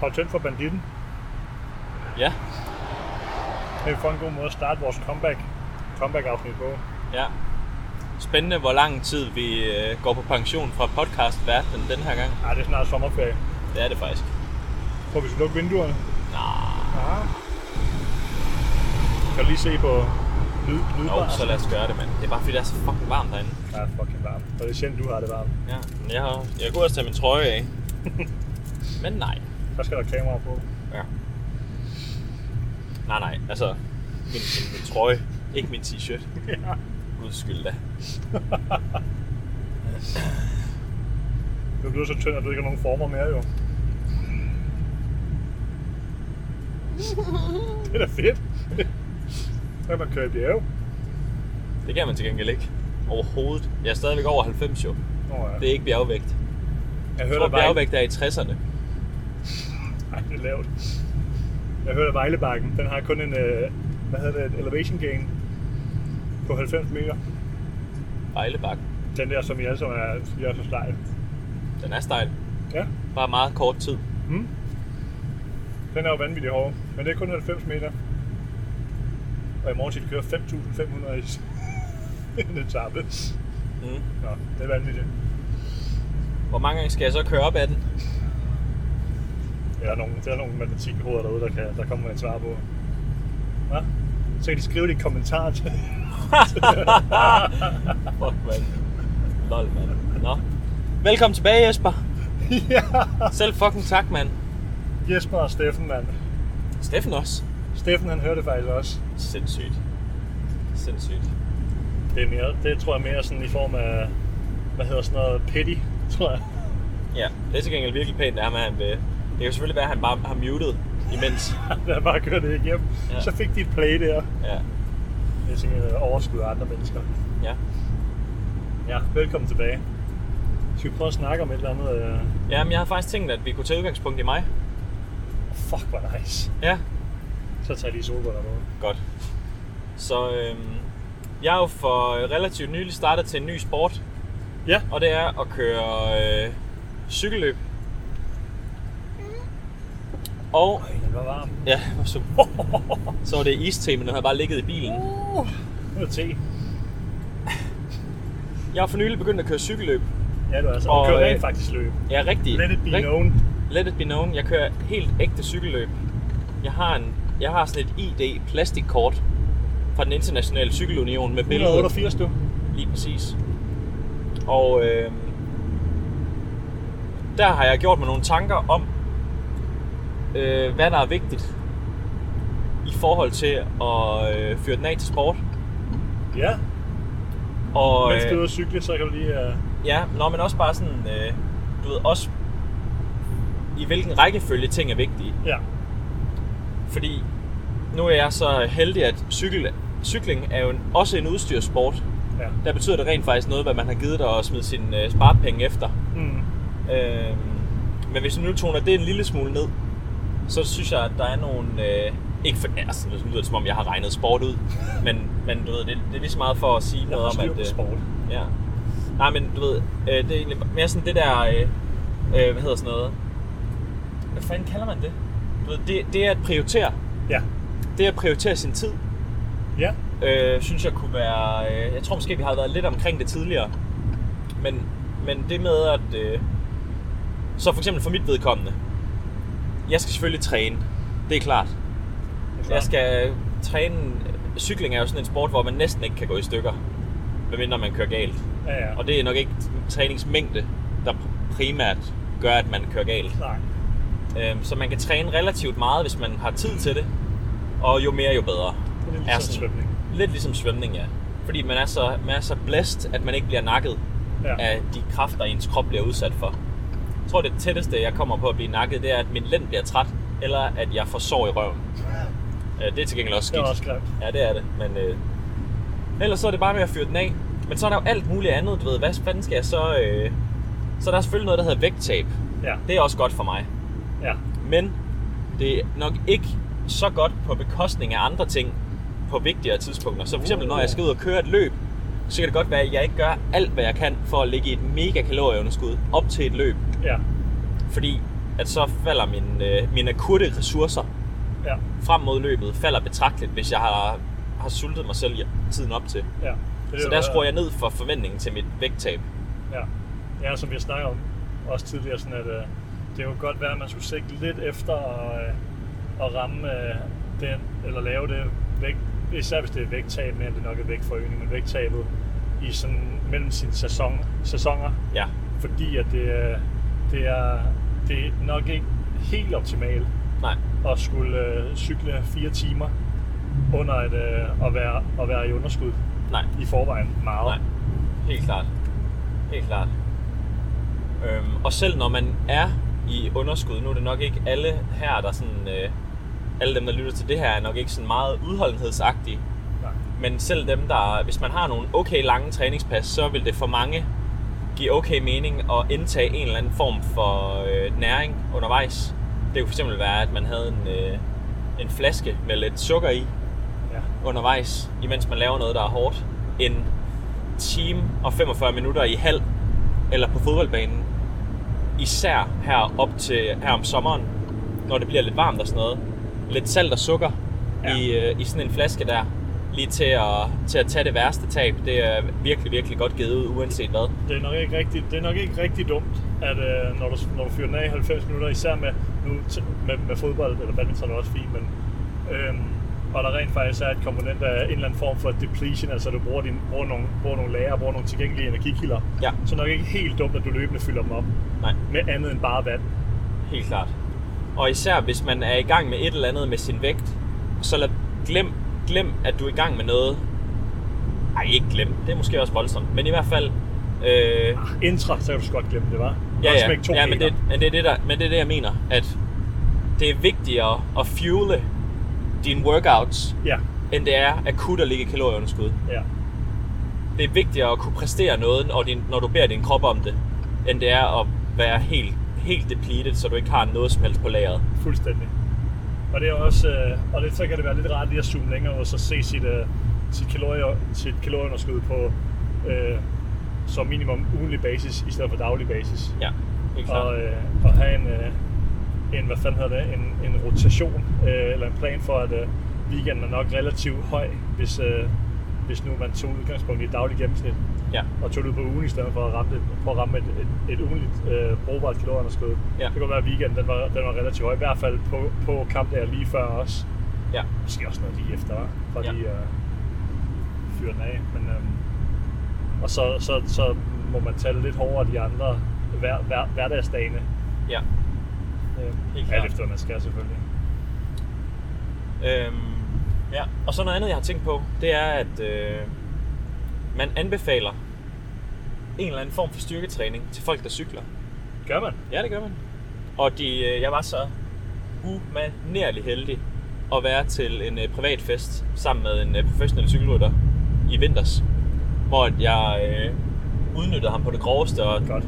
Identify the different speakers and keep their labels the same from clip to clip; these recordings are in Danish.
Speaker 1: Hold tændt for banditten.
Speaker 2: Ja,
Speaker 1: Det er for en god måde at starte vores comeback. Comeback-afsnit på.
Speaker 2: ja. Spændende, hvor lang tid vi øh, går på pension fra podcastverdenen den her gang.
Speaker 1: Ej, Ah, det er snart sommerferie.
Speaker 2: Det er det faktisk.
Speaker 1: Tror vi skal lukke vinduerne?
Speaker 2: Nå,
Speaker 1: Aha. Kan du lige se på lyd, lydbar?
Speaker 2: jo, så lad os gøre det, mand. Det er bare fordi, det er så fucking varmt derinde.
Speaker 1: Ja, fucking varmt. Og det er sjældent, du har det varmt.
Speaker 2: Ja, men jeg, har, jeg kunne også tage min trøje af. men nej.
Speaker 1: Så skal der kamera på.
Speaker 2: Ja. Nej, nej, altså min, min, min trøje, ikke min t-shirt.
Speaker 1: ja.
Speaker 2: Gudskyld da.
Speaker 1: Du er blevet så tynd, at du ikke har nogen former mere, jo. Det er da fedt. Så kan man køre i bjerge.
Speaker 2: Det kan man til gengæld ikke. Overhovedet. Jeg er stadigvæk over 90 jo.
Speaker 1: Nå ja.
Speaker 2: Det er ikke bjergvægt.
Speaker 1: jeg
Speaker 2: Jeg
Speaker 1: hørte,
Speaker 2: tror,
Speaker 1: at Vejle...
Speaker 2: bjergvægt er i 60'erne.
Speaker 1: Ej, det er lavt. Jeg hørte, at Vejlebakken, den har kun en, øh, hvad hedder det, et elevation gain på 90 meter.
Speaker 2: Vejlebakken.
Speaker 1: Den der, som I alle sammen er, siger er så stejl.
Speaker 2: Den er stejl.
Speaker 1: Ja.
Speaker 2: Bare meget kort tid.
Speaker 1: Mm. Den er jo vanvittig hård, men det er kun 90 meter. Og i morgen skal vi køre 5.500 i s- en etape.
Speaker 2: Mm.
Speaker 1: Nå, det er vanvittigt.
Speaker 2: Hvor mange gange skal jeg så køre op ad den?
Speaker 1: Der er nogle, der er nogle matematikhoveder derude, der, kan, der kommer med et svar på. Hva? Så kan de skrive det i kommentarer til.
Speaker 2: Fuck, mand. Lol, mand. Nå. Velkommen tilbage, Jesper.
Speaker 1: ja.
Speaker 2: Selv fucking tak, mand.
Speaker 1: Jesper og Steffen, mand.
Speaker 2: Steffen også.
Speaker 1: Steffen, han hørte det faktisk også.
Speaker 2: Sindssygt. Sindssygt.
Speaker 1: Det, er mere, det tror jeg mere sådan i form af, hvad hedder sådan noget, pity, tror jeg.
Speaker 2: Ja, det er til gengæld virkelig pænt, det er med, at han vil. Det kan jo selvfølgelig være, at han bare har muted imens.
Speaker 1: Lad bare køre det igennem. Ja.
Speaker 2: Ja.
Speaker 1: Så fik de et play der.
Speaker 2: Ja,
Speaker 1: Jeg tænker, øh, overskud af andre mennesker.
Speaker 2: ja.
Speaker 1: Ja, velkommen tilbage. Skal vi prøve at snakke om et eller andet? Øh...
Speaker 2: Jamen, jeg har faktisk tænkt, at vi kunne tage udgangspunkt i mig.
Speaker 1: Fuck, hvor nice.
Speaker 2: Ja,
Speaker 1: Så tager jeg lige solbriller på.
Speaker 2: Godt. Så øhm, jeg er jo for øh, relativt nylig startet til en ny sport,
Speaker 1: Ja.
Speaker 2: og det er at køre øh, cykelløb. Og
Speaker 1: Ej, den var varm.
Speaker 2: ja, så, så var det iste, men den havde bare ligget i bilen.
Speaker 1: Uh, nu er det te.
Speaker 2: Jeg har for nylig begyndt at køre cykelløb.
Speaker 1: Ja, du er altså. Og,
Speaker 2: Og,
Speaker 1: kører
Speaker 2: øh,
Speaker 1: rent faktisk løb.
Speaker 2: Jeg er rigtig,
Speaker 1: Let it be
Speaker 2: rigt-
Speaker 1: known.
Speaker 2: let it be known. Jeg kører helt ægte cykelløb. Jeg har, en, jeg har sådan et ID plastikkort fra den internationale cykelunion med billeder.
Speaker 1: 188, du.
Speaker 2: Lige præcis. Og øh, der har jeg gjort mig nogle tanker om, øh, hvad der er vigtigt i forhold til at øh, fyre den af til sport.
Speaker 1: Ja. Og,
Speaker 2: Og, øh,
Speaker 1: Mens du er ude at cykle, så kan du lige... Øh...
Speaker 2: ja, nå, men også bare sådan, øh, du ved, også i hvilken rækkefølge ting er vigtige.
Speaker 1: Ja.
Speaker 2: Fordi nu er jeg så heldig, at cykel, cykling er jo en, også en udstyrssport.
Speaker 1: Ja.
Speaker 2: Der betyder det rent faktisk noget, hvad man har givet dig og smide sine øh, sparepenge efter.
Speaker 1: Mm.
Speaker 2: Øh, men hvis vi nu toner det en lille smule ned, så synes jeg, at der er nogle... Øh, ikke for, altså, nu lyder det, som om jeg har regnet sport ud, men, men du ved, det, det er lige så meget for at sige
Speaker 1: Jeg
Speaker 2: noget
Speaker 1: har
Speaker 2: om,
Speaker 1: styr
Speaker 2: at...
Speaker 1: på
Speaker 2: Øh,
Speaker 1: sport.
Speaker 2: ja. Nej, men du ved, øh, det er egentlig mere sådan det der... Øh, øh, hvad hedder sådan noget? Hvad fanden kalder man det? Du ved, det, det er at prioritere.
Speaker 1: Ja.
Speaker 2: Det er at prioritere sin tid,
Speaker 1: Ja.
Speaker 2: øh, synes jeg kunne være... Øh, jeg tror måske, vi har været lidt omkring det tidligere. Men, men det med, at... Øh, så for eksempel for mit vedkommende. Jeg skal selvfølgelig træne. Det er klart.
Speaker 1: Det er
Speaker 2: Jeg skal træne... Cykling er jo sådan en sport, hvor man næsten ikke kan gå i stykker. Medmindre man kører galt.
Speaker 1: klart. Ja, ja.
Speaker 2: Og det er nok ikke træningsmængde, der primært gør, at man kører galt.
Speaker 1: Nej.
Speaker 2: Øhm, Så man kan træne relativt meget, hvis man har tid til det. Og jo mere, jo bedre.
Speaker 1: Det er lidt
Speaker 2: Er
Speaker 1: ligesom
Speaker 2: sådan-
Speaker 1: svømning.
Speaker 2: Lidt ligesom svømning, ja. Fordi man er så, man er så blæst, at man ikke bliver nakket
Speaker 1: Ja.
Speaker 2: ja. af de kræfter, ens krop bliver udsat for. Jeg tror, det tætteste, jeg kommer på at blive nakket, det er, at min lænd bliver træt, eller at jeg får sår i røven. Øh, Det er til gengæld også
Speaker 1: Det
Speaker 2: skidt.
Speaker 1: er også grimt.
Speaker 2: Ja, det er det. Men øh, ellers så er det bare med at fyre den af. Men så er der jo alt muligt andet, du ved. Hvad fanden skal jeg så... Øh... Så er der selvfølgelig noget, der hedder vægttab.
Speaker 1: Ja.
Speaker 2: Det er også godt for mig.
Speaker 1: Ja.
Speaker 2: Men det er nok ikke så godt på bekostning af andre ting på vigtigere tidspunkter. Så for eksempel, når jeg skal ud og køre et løb, så kan det godt være, at jeg ikke gør alt, hvad jeg kan for at ligge i et mega kalorieunderskud op til et løb.
Speaker 1: Ja.
Speaker 2: Fordi at så falder min, øh, mine akutte ressourcer
Speaker 1: Ja,
Speaker 2: frem mod løbet falder betragteligt, hvis jeg har, har sultet mig selv i tiden op til.
Speaker 1: ja. Det er
Speaker 2: Så
Speaker 1: jo
Speaker 2: der
Speaker 1: bedre.
Speaker 2: skruer jeg ned for forventningen til mit vægttab.
Speaker 1: Ja. ja, som vi snakker om også tidligere, sådan at øh, det kunne godt være, at man skulle sigte lidt efter at, øh, at ramme øh, den, eller lave det vægt, især hvis det er vægttab, mere end det nok er vægtforøgning, men vægttabet i sådan, mellem sine sæson, sæsoner,
Speaker 2: Ja,
Speaker 1: fordi at det, er- det, er, det er nok ikke helt optimalt
Speaker 2: nej.
Speaker 1: at skulle øh, cykle fire timer under et, øh, at, være, at være i underskud
Speaker 2: Nej,
Speaker 1: i forvejen meget.
Speaker 2: nej. Helt klart. Helt klart. Øhm, og selv når man er i underskud, nu er det nok ikke alle her, der sådan... Øh, alle dem, der lytter til det her, er nok ikke sådan meget udholdenhedsagtige.
Speaker 1: Nej.
Speaker 2: Men selv dem, der... Hvis man har nogle okay lange træningspas, så vil det for mange give okay mening at indtage en eller anden form for øh, næring undervejs. Det kunne fx være, at man havde en, øh, en flaske med lidt sukker i,
Speaker 1: Ja.
Speaker 2: undervejs, imens man laver noget, der er hårdt, en time og 45 minutter i halv eller på fodboldbanen. Især her op til her om sommeren, når det bliver lidt varmt og sådan noget. Lidt salt og sukker ja.
Speaker 1: Ja.
Speaker 2: i, øh, i sådan en flaske der, lige til at, til at tage det værste tab. Det er virkelig, virkelig godt givet ud, uanset hvad.
Speaker 1: Det er nok ikke rigtig, det er nok ikke rigtig dumt, at øh, når, du, når du fyrer den af i 90 minutter, især med, nu, t- med, med fodbold, eller badminton er også fint, men øhm, og der rent faktisk er et komponent af en eller anden form for depletion, altså du bruger, din, bruger, nogle, bruger nogle lager, bruger nogle tilgængelige energikilder,
Speaker 2: Ja.
Speaker 1: så er det nok ikke helt dumt, at du løbende fylder dem op
Speaker 2: Nej.
Speaker 1: med andet end bare vand.
Speaker 2: Helt klart. Og især hvis man er i gang med et eller andet med sin vægt, så lad, glem, glem at du er i gang med noget. Ej, ikke glem. Det er måske også voldsomt. Men i hvert fald... Øh,
Speaker 1: Intra, så kan du så godt glemme det, var.
Speaker 2: ja,
Speaker 1: Også
Speaker 2: ja.
Speaker 1: smække to
Speaker 2: ja men,
Speaker 1: hæler.
Speaker 2: det, men, det er det, der, men det er det, jeg mener. At det er vigtigere at fuele dine workouts,
Speaker 1: Ja,
Speaker 2: end det er akut at ligge i kalorieunderskud.
Speaker 1: ja,
Speaker 2: Det er vigtigere at kunne præstere noget, når, din, når du beder din krop om det, end det er at være helt, helt depleted, så du ikke har noget som helst på lageret.
Speaker 1: fuldstændig. Og det er også, øh, og det, så kan det være lidt rart lige at zoome længere ud, og så se sit, øh, sit, kalorier, sit kalorieunderskud på øh, som minimum ugenlig basis, i stedet for daglig basis.
Speaker 2: Ja, helt klart.
Speaker 1: Og, øh, og have en, øh, en, hvad fanden hedder det, en, en rotation, øh, eller en plan for, at øh, weekenden er nok relativt høj, hvis, øh, hvis nu man tog udgangspunkt i et dagligt gennemsnit,
Speaker 2: Ja.
Speaker 1: og tog det ud på ugen i stedet for at ramme, det, for at ramme et, et, et ugenligt øh, brugbart kalorieunderskud.
Speaker 2: Ja.
Speaker 1: Det kan godt være, at weekenden den var, den var relativt høj, i hvert fald på, på kampdagen lige før også.
Speaker 2: Ja,
Speaker 1: Måske også noget lige efter, hva'? for
Speaker 2: Ja.
Speaker 1: ja. lige at fyre den af. Men, øhm, og så, så, så må man tage det lidt hårdere de andre hver, hver, hverdagsdagene.
Speaker 2: ja.
Speaker 1: Øhm,
Speaker 2: Helt klart.
Speaker 1: alt efter, hvad man skal selvfølgelig.
Speaker 2: Øhm, ja. Og så noget andet, jeg har tænkt på, det er, at øh, man anbefaler en eller anden form for styrketræning til folk, der cykler.
Speaker 1: Gør man?
Speaker 2: Ja, det gør man. Og de, øh, jeg var så umanerlig heldig at være til en øh, privat fest sammen med en øh, professionel cykelrytter i vinters, hvor at jeg øh, udnyttede ham på det groveste, og
Speaker 1: Godt.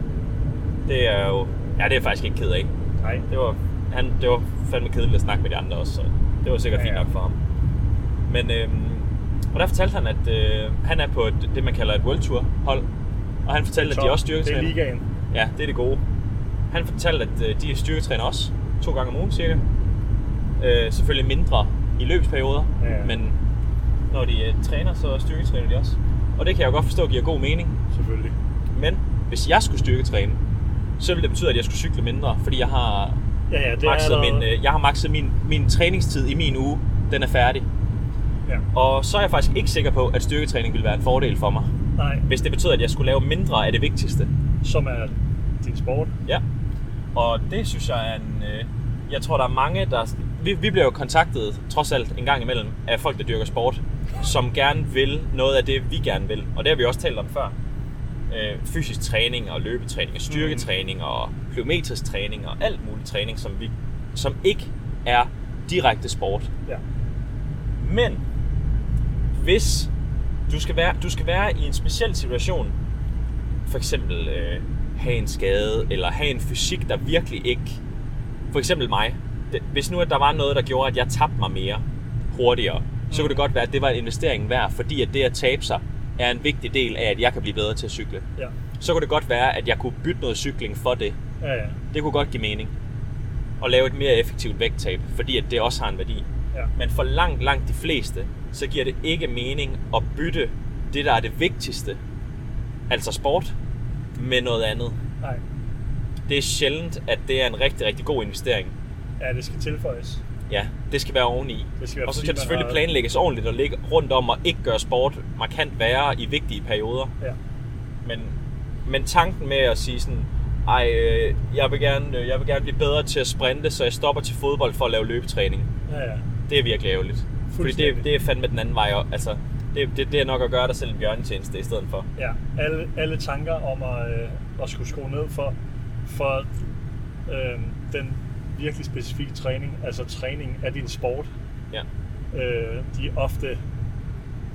Speaker 2: det er jo... Ja, det er jeg faktisk ikke ked af.
Speaker 1: Nej.
Speaker 2: Det var, han, det var fandme kedeligt at snakke med de andre også, så det var sikkert
Speaker 1: Ja,
Speaker 2: ja, ja.
Speaker 1: ja.
Speaker 2: fint nok for ham. Men øhm, og der fortalte han, at øh, han er på et, det, man kalder et World Tour hold. Og han fortalte, at de også
Speaker 1: Det er
Speaker 2: styrketræner.
Speaker 1: ligaen.
Speaker 2: Ja, det er det gode. Han fortalte, at øh, de styrketræner også to gange om ugen cirka. Øh, selvfølgelig mindre i løbsperioder,
Speaker 1: Ja, ja.
Speaker 2: men når de øh, træner, så styrketræner de også. Og det kan jeg jo godt forstå giver god mening.
Speaker 1: Selvfølgelig.
Speaker 2: Men hvis jeg skulle styrketræne, så ville det betyde, at jeg skulle cykle mindre, fordi jeg har
Speaker 1: Ja, ja, det
Speaker 2: maxet
Speaker 1: er der-
Speaker 2: min, øh, jeg har maxet min, min træningstid i min uge. Den er færdig.
Speaker 1: Ja.
Speaker 2: Og så er jeg faktisk ikke sikker på, at styrketræning ville være en fordel for mig.
Speaker 1: Nej,
Speaker 2: Hvis det betyder, at jeg skulle lave mindre af det vigtigste.
Speaker 1: som er din sport.
Speaker 2: Ja. Og det synes jeg er en... Øh, jeg tror, der er mange, der... Vi, vi bliver jo kontaktet, trods alt, en gang imellem, af folk, der dyrker sport, som gerne vil noget af det, vi gerne vil. Og det har vi også talt om før. Øh, fysisk træning og løbetræning og
Speaker 1: Mm.
Speaker 2: styrketræning og plyometrisk træning og alt muligt træning, som, vi, som ikke er direkte sport.
Speaker 1: Ja.
Speaker 2: Men hvis du skal være, du skal være i en speciel situation, for eksempel øh, have en skade, eller have en fysik, der virkelig ikke... For eksempel mig. Det- Hvis nu at der var noget, der gjorde, at jeg tabte mig mere hurtigere, så kunne det godt være, at det var en investering værd, fordi at det at tabe sig er en vigtig del af, at jeg kan blive bedre til at cykle.
Speaker 1: Ja.
Speaker 2: Så kunne det godt være, at jeg kunne bytte noget cykling for det.
Speaker 1: Ja, ja.
Speaker 2: Det kunne godt give mening. at lave et mere effektivt vægttab, fordi at det også har en værdi.
Speaker 1: Ja.
Speaker 2: Men for langt, langt de fleste, så giver det ikke mening at bytte det, der er det vigtigste, altså sport, med noget andet.
Speaker 1: Nej.
Speaker 2: Det er sjældent, at det er en rigtig, rigtig god investering.
Speaker 1: Ja, det skal tilføjes.
Speaker 2: Ja, det skal være oveni.
Speaker 1: Det skal være,
Speaker 2: og så
Speaker 1: fordi
Speaker 2: skal det
Speaker 1: man
Speaker 2: selvfølgelig
Speaker 1: har-
Speaker 2: planlægges ordentligt og ligge rundt om og ikke gøre sport markant værre i vigtige perioder.
Speaker 1: Ja.
Speaker 2: Men, men tanken med at sige sådan, ej, øh, jeg vil, gerne, øh, jeg vil gerne blive bedre til at sprinte, så jeg stopper til fodbold for at lave løbetræning.
Speaker 1: Ja, ja.
Speaker 2: Det er virkelig ærgerligt. Fordi det,
Speaker 1: Fuldstændig.
Speaker 2: det er fandme den anden vej. og- Altså, det, det, det er nok at gøre dig selv en bjørnetjeneste i stedet for.
Speaker 1: ja. Alle, alle tanker om at, øh, at skulle skrue ned for, for øh, den virkelig specifikke træning, altså træning af din sport,
Speaker 2: Ja.
Speaker 1: øh, de er ofte jeg vil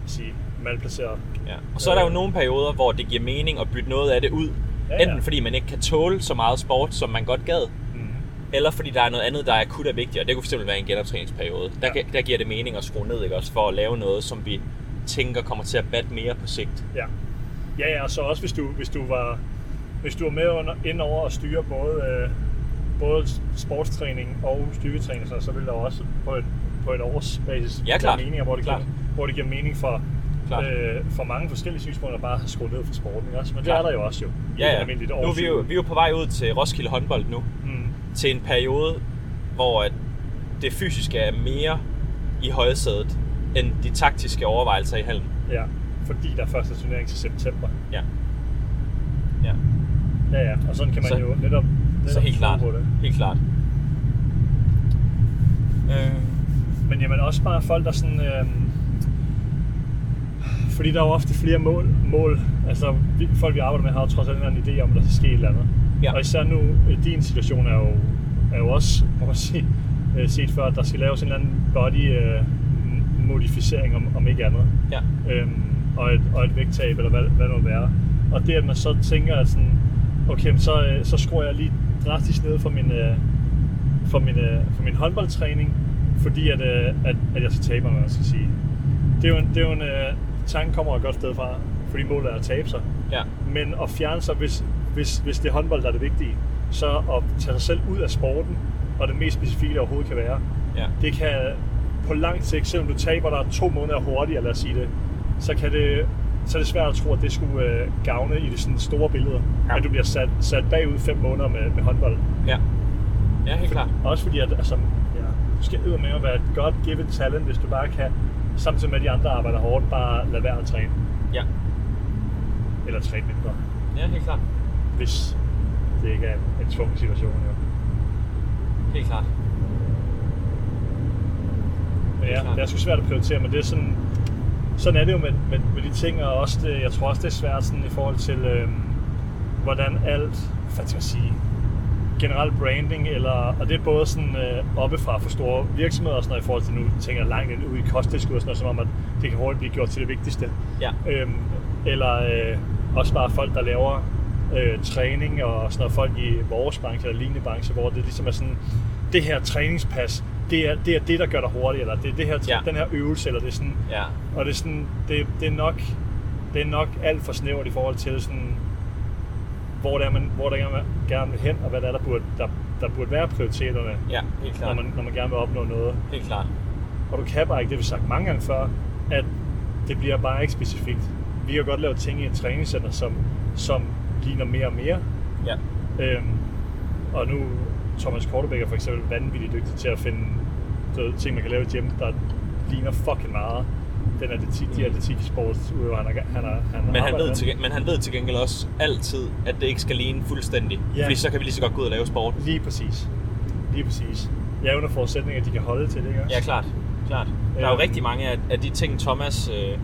Speaker 1: sige, malplaceret.
Speaker 2: Ja. Og så er der jo nogle perioder, hvor det giver mening at bytte noget af det ud.
Speaker 1: Ja, ja.
Speaker 2: Enten fordi man ikke kan tåle så meget sport, som man godt gad,
Speaker 1: Mm.
Speaker 2: eller fordi der er noget andet, der er akut og vigtigt, og det kunne fx være en genoptræningsperiode. Der,
Speaker 1: Ja.
Speaker 2: ja. der giver det mening at skrue ned, ikke også, for at lave noget, som vi tænker kommer til at batte mere på sigt.
Speaker 1: Ja. ja, ja, og så også hvis du, hvis du var hvis du var med under, ind over at styre både, øh, både sportstræning og styrketræning, så, så vil der også på et, på et årsbasis
Speaker 2: Ja,
Speaker 1: være
Speaker 2: klart.
Speaker 1: meninger, hvor det, giver,
Speaker 2: Klart.
Speaker 1: hvor det giver mening for,
Speaker 2: Klart.
Speaker 1: øh, for mange forskellige synspunkter bare at skrue ned for sporten. Ikke? Også, men
Speaker 2: Klart.
Speaker 1: det er der jo også jo. i et
Speaker 2: Ja, ja.
Speaker 1: almindeligt
Speaker 2: Nu er vi jo,
Speaker 1: årshjul.
Speaker 2: vi er jo på vej ud til Roskilde håndbold nu,
Speaker 1: Mm,
Speaker 2: til en periode, hvor at det fysiske er mere i højsædet, end de taktiske overvejelser i halm.
Speaker 1: ja, fordi der er første turnering til september.
Speaker 2: Ja. Ja.
Speaker 1: Ja, ja, og sådan kan man
Speaker 2: Så-
Speaker 1: jo netop, netop
Speaker 2: Så helt
Speaker 1: skrue
Speaker 2: klart.
Speaker 1: på det.
Speaker 2: Helt klart. Øh.
Speaker 1: Men jamen også bare folk, der sådan... Øh, fordi der er jo ofte flere mål. mål. Altså vi, folk, vi arbejder med, har jo trods alt en eller anden idé om, at der skal ske et eller andet.
Speaker 2: Ja.
Speaker 1: Og især nu, øh, din situation er jo, er jo også, må man sige, øh, set før, at der skal laves en eller anden body øh, m- modificering, om, om ikke andet.
Speaker 2: Ja.
Speaker 1: Øhm, og, et, og et vægttab, eller hvad, hvad det må være. Og det, at man så tænker, at sådan, okay, men så, øh, så skruer jeg lige drastisk ned for min, øh, for min, øh, for min håndboldtræning, fordi at, øh, at, at jeg skal tabe mig, hvad man skal sige. Det er jo en, det er jo en øh, tanken kommer et godt sted fra, fordi målet er at tabe sig.
Speaker 2: Ja.
Speaker 1: Men at fjerne sig, hvis, hvis, hvis det er håndbold, der er det vigtige, så at tage sig selv ud af sporten, og det mest specifikke, der overhovedet kan være,
Speaker 2: Ja.
Speaker 1: det kan på lang sigt, selvom du taber dig to måneder hurtigere, lad os sige det, så, kan det, så er det svært at tro, at det skulle øh, gavne i det sådan store billede,
Speaker 2: Ja.
Speaker 1: ja. at du bliver sat, sat bagud fem måneder med, med håndbold.
Speaker 2: Ja. Ja, helt klart.
Speaker 1: Også fordi, at altså, ja, du skal med at være et godt givet talent, hvis du bare kan, samtidig med at de andre arbejder hårdt, bare lade være at træne,
Speaker 2: Ja.
Speaker 1: eller træne mindre,
Speaker 2: Ja, helt klart.
Speaker 1: hvis det ikke er en, en tvungen situation. Jo.
Speaker 2: Helt klart.
Speaker 1: Men ja, det er sgu svært at prioritere, men det er sådan, sådan er det jo med, med, med de ting, og også det, jeg tror også, det er svært sådan, i forhold til, øh, hvordan alt, hvad skal jeg sige, generel branding, eller, og det er både sådan øh, oppefra for store virksomheder og sådan noget, i forhold til nu tænker jeg langt ind ud i kosttilskud og sådan noget, som om, at det kan hurtigt blive gjort til det vigtigste.
Speaker 2: Ja.
Speaker 1: Øhm, eller øh, også bare folk, der laver øh, træning og sådan noget, folk i vores branche eller lignende branche, hvor det ligesom er sådan, det her træningspas, det er det, er det der gør dig hurtig, eller det er det her,
Speaker 2: Ja.
Speaker 1: ja. den her øvelse, eller det er sådan,
Speaker 2: Ja.
Speaker 1: og det er sådan, det, det er nok, det er nok alt for snævert i forhold til sådan, hvor det er, man, hvor det er, man gerne vil hen, og hvad der er, der burde, der, der burde være prioriteterne,
Speaker 2: Ja, helt
Speaker 1: når,
Speaker 2: klart.
Speaker 1: man, når man gerne vil opnå noget.
Speaker 2: Helt klart.
Speaker 1: Og du kan bare ikke, det har vi sagt mange gange før, at det bliver bare ikke specifikt. Vi kan godt lave ting i et træningscenter, som, som ligner mere og mere.
Speaker 2: Ja.
Speaker 1: Øhm, og nu Thomas Kortebæk er for eksempel vanvittigt dygtig til at finde du ved, ting, man kan lave i gym, der ligner fucking meget den atletik, de atletik sportsudøver, han, er, han, er, han
Speaker 2: Mm. Men han,
Speaker 1: arbejder
Speaker 2: ved
Speaker 1: med.
Speaker 2: til, gen- men han ved til gengæld også altid, at det ikke skal ligne fuldstændig.
Speaker 1: Ja.
Speaker 2: Fordi så kan vi lige så godt gå ud og lave sport.
Speaker 1: Lige præcis. Lige præcis. Ja, under forudsætning, at de kan holde til det, ikke? også?
Speaker 2: Ja, klart. klart. Der er jo
Speaker 1: Øhm.
Speaker 2: rigtig mange af, af de ting, Thomas... Øh,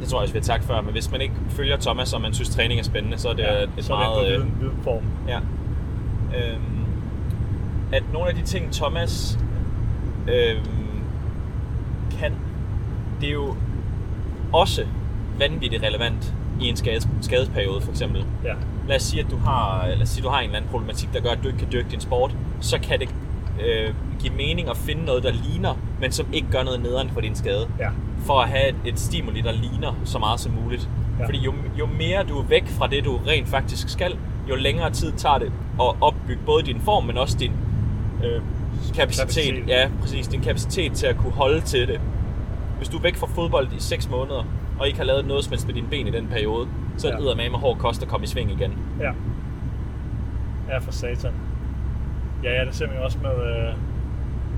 Speaker 2: det tror jeg også, vi har sagt før, men hvis man ikke følger Thomas, og man synes, træning er spændende, så er det ja, et
Speaker 1: så
Speaker 2: meget...
Speaker 1: er det en
Speaker 2: øh,
Speaker 1: viden, viden form.
Speaker 2: Ja. Øhm, at nogle af de ting, Thomas øhm, kan, det er jo også vanvittigt relevant i en skades, skadesperiode for eksempel.
Speaker 1: Ja.
Speaker 2: Lad os sige, at du har, lad os sige, du har en eller anden problematik, der gør, at du ikke kan dyrke din sport, så kan det øh, give mening at finde noget, der ligner, men som ikke gør noget nederen for din skade
Speaker 1: Ja.
Speaker 2: for at have et, et stimuli, der ligner så meget som muligt. Ja.
Speaker 1: Ja.
Speaker 2: Fordi jo, jo mere du er væk fra det, du rent faktisk skal, jo længere tid tager det at opbygge opbygge både din form, men også din øh, kapacitet.
Speaker 1: Kapacitet.
Speaker 2: kapacitet. Ja, præcis. Din kapacitet til at kunne holde til det. Hvis du er væk fra fodbold i 6 måneder, og ikke har lavet noget som helst med dine ben i den periode, så er
Speaker 1: Ja.
Speaker 2: det ja. med hård kost at komme i sving igen.
Speaker 1: Ja. Ja, for satan. Ja, ja, det ser man jo også med øh,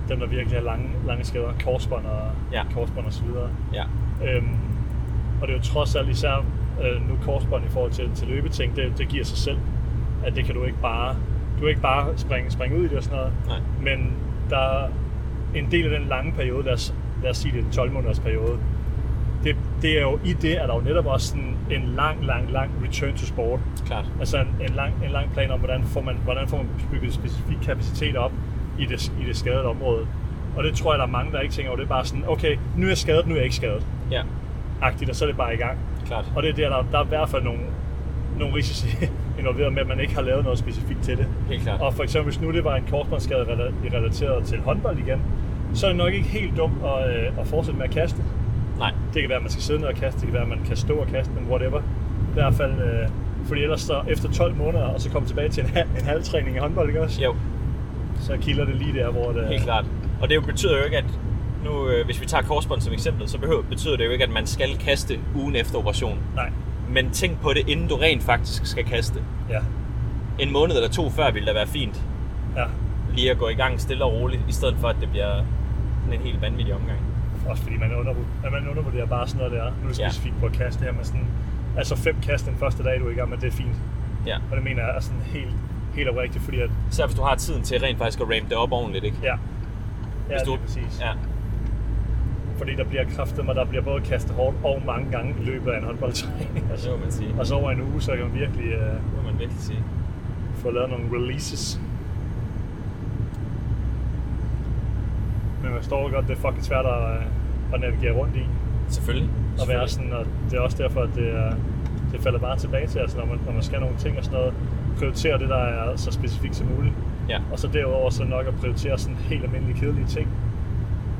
Speaker 1: dem, der virkelig har lange, lange skader, korsbånd og,
Speaker 2: Ja.
Speaker 1: korsbånd og så videre.
Speaker 2: Ja.
Speaker 1: Øhm, og det er jo trods alt især øh, nu korsbånd i forhold til, til løbeting, det, det giver sig selv, at det kan du ikke bare, du kan ikke bare springe, springe ud i det og sådan noget.
Speaker 2: Nej.
Speaker 1: Men der er en del af den lange periode, lad os, lad os sige det er en 12 måneders periode, det, det er jo i det, at der jo netop også sådan en lang, lang, lang return to sport.
Speaker 2: Klart.
Speaker 1: Altså en, en, lang, en lang plan om, hvordan får man, hvordan får man bygget specifik kapacitet op i det, i det skadede område. Og det tror jeg, der er mange, der ikke tænker over. Det er bare sådan, okay, nu er jeg skadet, nu er jeg ikke skadet.
Speaker 2: Ja,
Speaker 1: Agtigt, og så er det bare i gang.
Speaker 2: klart.
Speaker 1: Og det er der, der, der er i hvert fald nogle, nogle risici involveret med, at man ikke har lavet noget specifikt til det.
Speaker 2: Helt klart.
Speaker 1: Og for eksempel, hvis nu det var en korsbåndsskade rela- relateret til håndbold igen, så er det nok ikke helt dumt at, øh, at fortsætte med at kaste.
Speaker 2: Nej.
Speaker 1: Det kan være, at man skal sidde ned og kaste, det kan være, at man kan stå og kaste, men whatever. I hvert fald, øh, fordi ellers så efter 12 måneder, og så komme tilbage til en, ha- en halv træning i håndbold, ikke også?
Speaker 2: Jo,
Speaker 1: Så kilder det lige der, hvor det...
Speaker 2: Helt klart. Og det jo betyder jo ikke, at nu, øh, hvis vi tager korsbånd som eksempel, så behøver, betyder det jo ikke, at man skal kaste ugen efter operation.
Speaker 1: Nej.
Speaker 2: Men tænk på det, inden du rent faktisk skal kaste.
Speaker 1: Ja.
Speaker 2: En måned eller to før ville da være fint
Speaker 1: Ja.
Speaker 2: lige at gå i gang stille og roligt, i stedet for at det bliver sådan en helt vanvittig omgang.
Speaker 1: Også fordi man, under, at man undervurderer bare sådan noget der. Nu er det
Speaker 2: Ja.
Speaker 1: specifikt på at kaste det her med sådan... Altså fem kast den første dag, du er i gang med, det er fint.
Speaker 2: Ja.
Speaker 1: Og det mener jeg er sådan helt, helt oprigtigt, fordi at...
Speaker 2: Især hvis du har tiden til rent faktisk at rampe det op ordentligt, ikke?
Speaker 1: Ja. Ja,
Speaker 2: hvis du,
Speaker 1: lige præcis.
Speaker 2: Ja,
Speaker 1: Fordi der bliver kraftet mig, der bliver både kastet hårdt og mange gange i løbet af en håndboldtræning.
Speaker 2: det må man sige.
Speaker 1: Og så over en uge, så kan man virkelig øh,
Speaker 2: Det må man virkelig sige.
Speaker 1: få lavet nogle releases. Men man står godt, det er fucking svært at, øh, at navigere rundt i.
Speaker 2: Selvfølgelig.
Speaker 1: Og
Speaker 2: Selvfølgelig.
Speaker 1: være sådan, og det er også derfor, at det, er, det falder bare tilbage til, altså når man, når man skal nogle ting og sådan noget, prioritere det, der er så specifikt som muligt.
Speaker 2: Ja,
Speaker 1: Og så derudover så nok at prioritere sådan helt almindelige kedelige ting.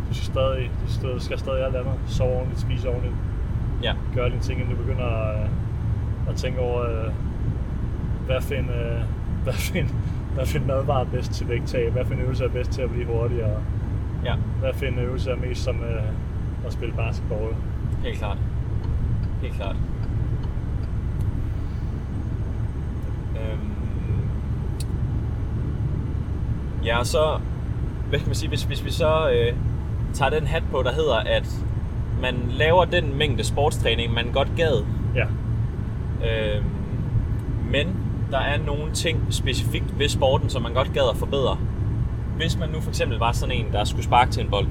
Speaker 1: Du skal stadig, du skal- skal stadig alt andet. Sove ordentligt, spise ordentligt,
Speaker 2: ja.
Speaker 1: gøre dine ting, inden du begynder at, øh, at tænke over, øh, hvad find, øh, hvad find, hvad find madvarer er bedst til vægttab, hvad find øvelser er bedst til at blive hurtigere,
Speaker 2: Ja,
Speaker 1: hvad find øvelser er mest som øh, at spille basketball.
Speaker 2: helt klart. Helt klart. Øhm. Ja, og så, hvad kan man sige, hvis, hvis vi så øh, tager den hat på, der hedder, at man laver den mængde sportstræning, man godt gad,
Speaker 1: Ja,
Speaker 2: Øhm, men der er nogle ting specifikt ved sporten, som man godt gad at forbedre. Hvis man nu for eksempel var sådan en, der skulle sparke til en bold,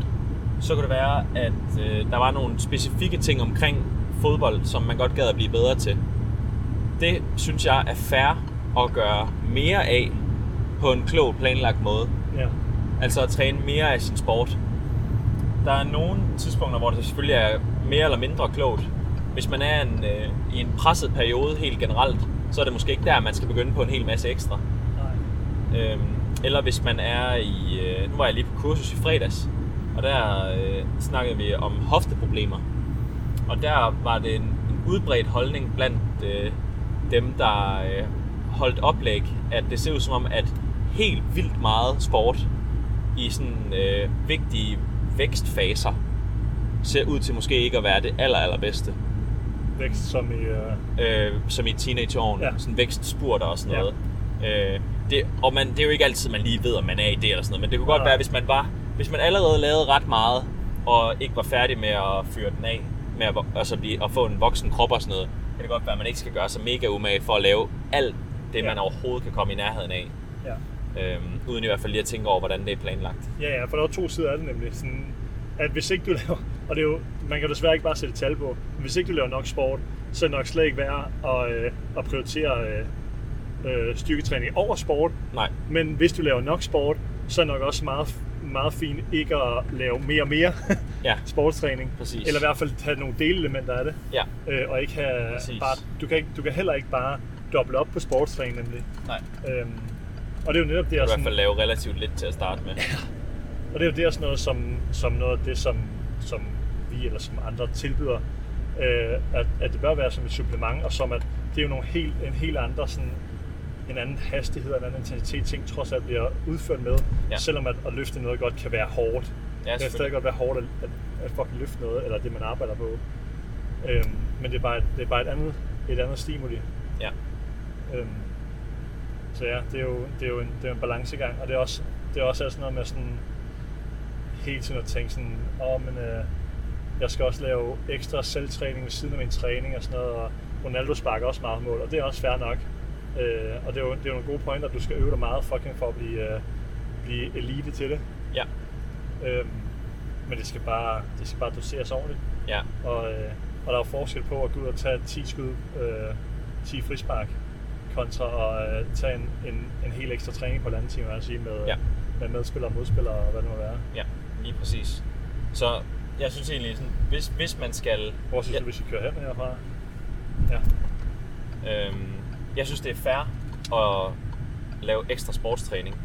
Speaker 2: så kunne det være, at øh, der var nogle specifikke ting omkring fodbold, som man godt gad at blive bedre til. Det synes jeg er fair at gøre mere af på en klog planlagt måde.
Speaker 1: ja,
Speaker 2: Altså at træne mere af sin sport. Der er nogle tidspunkter, hvor det selvfølgelig er mere eller mindre klogt. Hvis man er en, øh, i en presset periode helt generelt, så er det måske ikke der, man skal begynde på en hel masse ekstra.
Speaker 1: nej,
Speaker 2: Øhm, eller hvis man er i... Øh, nu var jeg lige på kursus i fredags, og der øh, snakkede vi om hofteproblemer. Og der var det en, en udbredt holdning blandt øh, dem, der øh, holdt oplæg, at det ser ud som om, at helt vildt meget sport i sådan øh, vigtige vækstfaser ser ud til måske ikke at være det aller, allerbedste
Speaker 1: vækst som i, øh,
Speaker 2: øh, som i teenageårene,
Speaker 1: Ja.
Speaker 2: ja. sådan vækstspurter og sådan noget. Ja. Øh, det, og man, det er jo ikke altid, man lige ved, om man er i det eller sådan noget, men det kunne godt
Speaker 1: Nej.
Speaker 2: være, hvis man var, hvis man allerede lavede ret meget, og ikke var færdig med at fyre den af, med at, vo- altså blive, at få en voksen krop og sådan noget, kan det godt være, at man ikke skal gøre sig mega umage for at lave alt det,
Speaker 1: Ja.
Speaker 2: ja. man overhovedet kan komme i nærheden af,
Speaker 1: ja.
Speaker 2: øh, uden i hvert fald lige at tænke over, hvordan det er planlagt.
Speaker 1: Ja, ja, for der er jo to sider af det nemlig. Sådan, at hvis ikke du laver, og det er jo, man kan jo desværre ikke bare sætte tal på, men hvis ikke du laver nok sport, så er det nok slet ikke værd at, øh, at prioritere øh, øh, styrketræning over sport.
Speaker 2: Nej,
Speaker 1: Men hvis du laver nok sport, så er det nok også meget, meget fint ikke at lave mere og mere
Speaker 2: ja,
Speaker 1: sportstræning.
Speaker 2: Præcis.
Speaker 1: Eller i hvert fald have nogle delelementer af det.
Speaker 2: ja,
Speaker 1: Øh, og ikke have
Speaker 2: Præcis.
Speaker 1: bare, du, kan ikke, du kan heller ikke bare doble op på sportstræning nemlig.
Speaker 2: nej. Du
Speaker 1: Øhm, og det er jo netop det,
Speaker 2: kan
Speaker 1: jeg
Speaker 2: i hvert
Speaker 1: sådan,
Speaker 2: fald lave relativt lidt til at starte med.
Speaker 1: Og det er jo det er sådan noget, som, som noget af det, som, som vi eller som andre tilbyder, øh, at, at det bør være som et supplement, og som at det er jo nogle helt, en helt andre sådan, en anden hastighed og en anden intensitet, ting trods alt bliver udført med,
Speaker 2: Ja.
Speaker 1: ja. selvom at, at løfte noget godt kan være hårdt.
Speaker 2: Ja,
Speaker 1: det kan stadig
Speaker 2: selvfølgelig.
Speaker 1: godt være hårdt at, at, at fucking løfte noget, eller det man arbejder på. Øhm, men det er bare, et- det er bare et, andet, et andet stimuli.
Speaker 2: Ja.
Speaker 1: Øhm, så ja, det er jo, det er jo en, det er jo en balancegang, og det er også, det er også alt sådan noget med sådan, hele tiden at tænke sådan, åh, men øh, jeg skal også lave ekstra selvtræning ved siden af min træning og sådan noget, og Ronaldo sparker også meget mål, og det er også fair nok. Øh, og det er, jo, det er jo nogle gode pointer, at du skal øve dig meget fucking for at blive, øh, blive elite til det.
Speaker 2: Ja,
Speaker 1: Øh, men det skal bare, det skal bare doseres ordentligt.
Speaker 2: ja,
Speaker 1: Og, øh, og der er forskel på at gå ud og tage 10 skud, øh, 10 frispark, kontra at øh, tage en, en, en helt ekstra træning på en anden time, vil jeg sige, med,
Speaker 2: Ja.
Speaker 1: ja. med medspillere og modspillere og hvad det må være.
Speaker 2: ja, lige præcis. Så jeg synes egentlig, sådan, hvis, hvis man skal...
Speaker 1: Hvor synes
Speaker 2: ja,
Speaker 1: ja. du, vi skal køre hen herfra? Ja.
Speaker 2: Øhm, jeg synes, det er fair at lave ekstra sportstræning.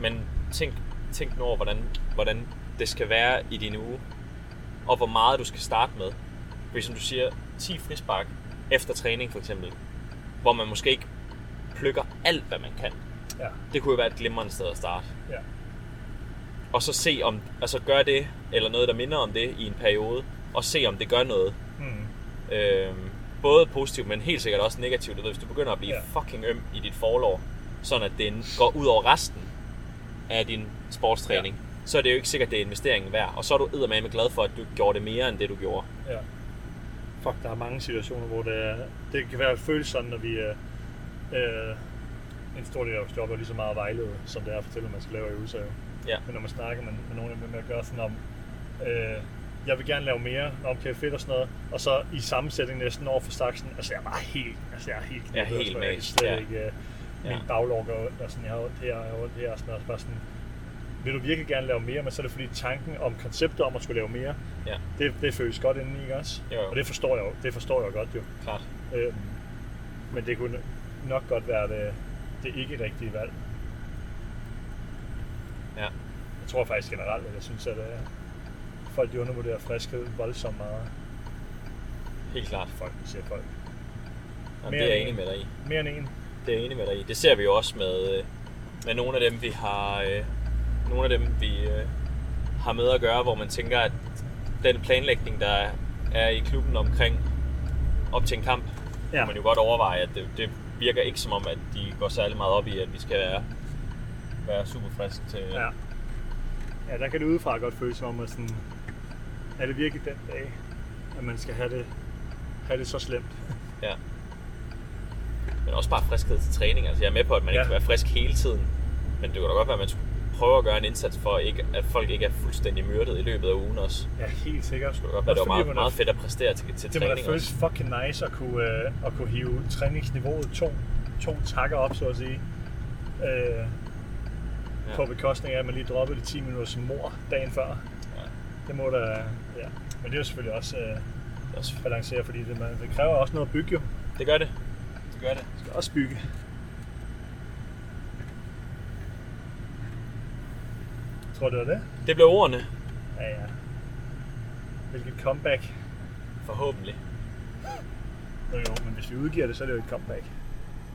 Speaker 2: Men tænk, tænk nu over, hvordan, hvordan det skal være i din uge. Og hvor meget du skal starte med. Hvis som du siger, 10 frispark efter træning for eksempel. Hvor man måske ikke plukker alt, hvad man kan.
Speaker 1: Ja.
Speaker 2: Det kunne jo være et glimrende sted at starte.
Speaker 1: ja.
Speaker 2: Og så se om, altså gør det, eller noget, der minder om det i en periode. Og se om det gør noget.
Speaker 1: Mm.
Speaker 2: Øh, både positivt, men helt sikkert også negativt. Du ved, hvis du begynder at blive
Speaker 1: Ja.
Speaker 2: fucking øm i dit forlår, sådan at det går ud over resten af din sportstræning, ja. så er det jo ikke sikkert, det er investeringen værd. Og så er du eddermame glad for, at du ikke gjorde det mere, end det du gjorde.
Speaker 1: Ja. Fuck, der er mange situationer, hvor det, er- det kan være føles sådan, når vi øh, øh, en stor del af vores job er lige så meget vejledet, som det er at fortælle, hvad man skal lave i USA.
Speaker 2: Ja.
Speaker 1: Men når man snakker med, med nogen, der med at gøre sådan om, øh, jeg vil gerne lave mere, om kan fedt og sådan noget, og så i sammensætning næsten over for staksen, altså jeg er bare helt, altså jeg er helt,
Speaker 2: Jeg er
Speaker 1: knækket,
Speaker 2: helt
Speaker 1: altså, jeg kan
Speaker 2: mast,
Speaker 1: slet
Speaker 2: ja.
Speaker 1: ikke, øh, min
Speaker 2: Ja.
Speaker 1: baglov går ondt, og sådan, jeg har ondt her, og jeg har ondt her, og sådan noget, og så bare sådan, vil du virkelig gerne lave mere, men så er det fordi tanken om konceptet om at skulle lave mere,
Speaker 2: Ja,
Speaker 1: det, det føles godt indeni, ikke også?
Speaker 2: Jo, jo.
Speaker 1: Og det forstår jeg jo, det forstår jeg jo godt jo.
Speaker 2: klart.
Speaker 1: Øhm, men det kunne nok godt være det, det ikke rigtige valg.
Speaker 2: Ja.
Speaker 1: Jeg tror faktisk generelt, at jeg synes, at øh, folk de undervurderer friskhed voldsomt meget.
Speaker 2: Helt klart.
Speaker 1: Folk, siger folk.
Speaker 2: Jamen,
Speaker 1: Mere
Speaker 2: det er
Speaker 1: end
Speaker 2: jeg enig
Speaker 1: en.
Speaker 2: med dig i.
Speaker 1: Mere end en.
Speaker 2: Det er jeg enig med dig i. Det ser vi jo også med, øh, med nogle af dem, vi har, øh, nogle af dem, vi øh, har med at gøre, hvor man tænker, at den planlægning, der er i klubben omkring op til en kamp, ja.
Speaker 1: Ja.
Speaker 2: kan man jo godt overveje, at det, det virker ikke som om, at de går særlig meget op i, at vi skal være, være super friske til...
Speaker 1: Ja. ja, der kan det udefra godt føles som om, at sådan, er det virkelig den dag, at man skal have det, have det så slemt?
Speaker 2: ja. Men også bare friskhed til træning. Altså, jeg er med på, at man ja.
Speaker 1: Ja.
Speaker 2: ikke kan være frisk hele tiden, men det kunne da godt være, at man skulle prøve at gøre en indsats for, ikke, at folk ikke er fuldstændig myrdet i løbet af ugen også.
Speaker 1: Ja, helt sikkert.
Speaker 2: Det var, det var
Speaker 1: Også fordi
Speaker 2: meget,
Speaker 1: man er
Speaker 2: meget fedt at præstere til, til
Speaker 1: Det må da
Speaker 2: træning
Speaker 1: føles
Speaker 2: også.
Speaker 1: fucking nice at kunne, øh, at kunne hive træningsniveauet to, to takker op, så at sige. Øh,
Speaker 2: Ja.
Speaker 1: ja. På bekostning af, at man lige droppede de 10 minutter som mor dagen før.
Speaker 2: Ja.
Speaker 1: Det må da... Ja. Men det er jo selvfølgelig også øh,
Speaker 2: Det, er også,
Speaker 1: balanceret, fordi det, man, det kræver også noget at bygge jo. Man
Speaker 2: det gør det. Det gør det.
Speaker 1: skal også bygge. Tror du, det var det?
Speaker 2: Det blev ordene,
Speaker 1: Ja, ja. Hvilket comeback.
Speaker 2: forhåbentlig.
Speaker 1: Jo, jo, men hvis vi udgiver det, så er det jo et comeback.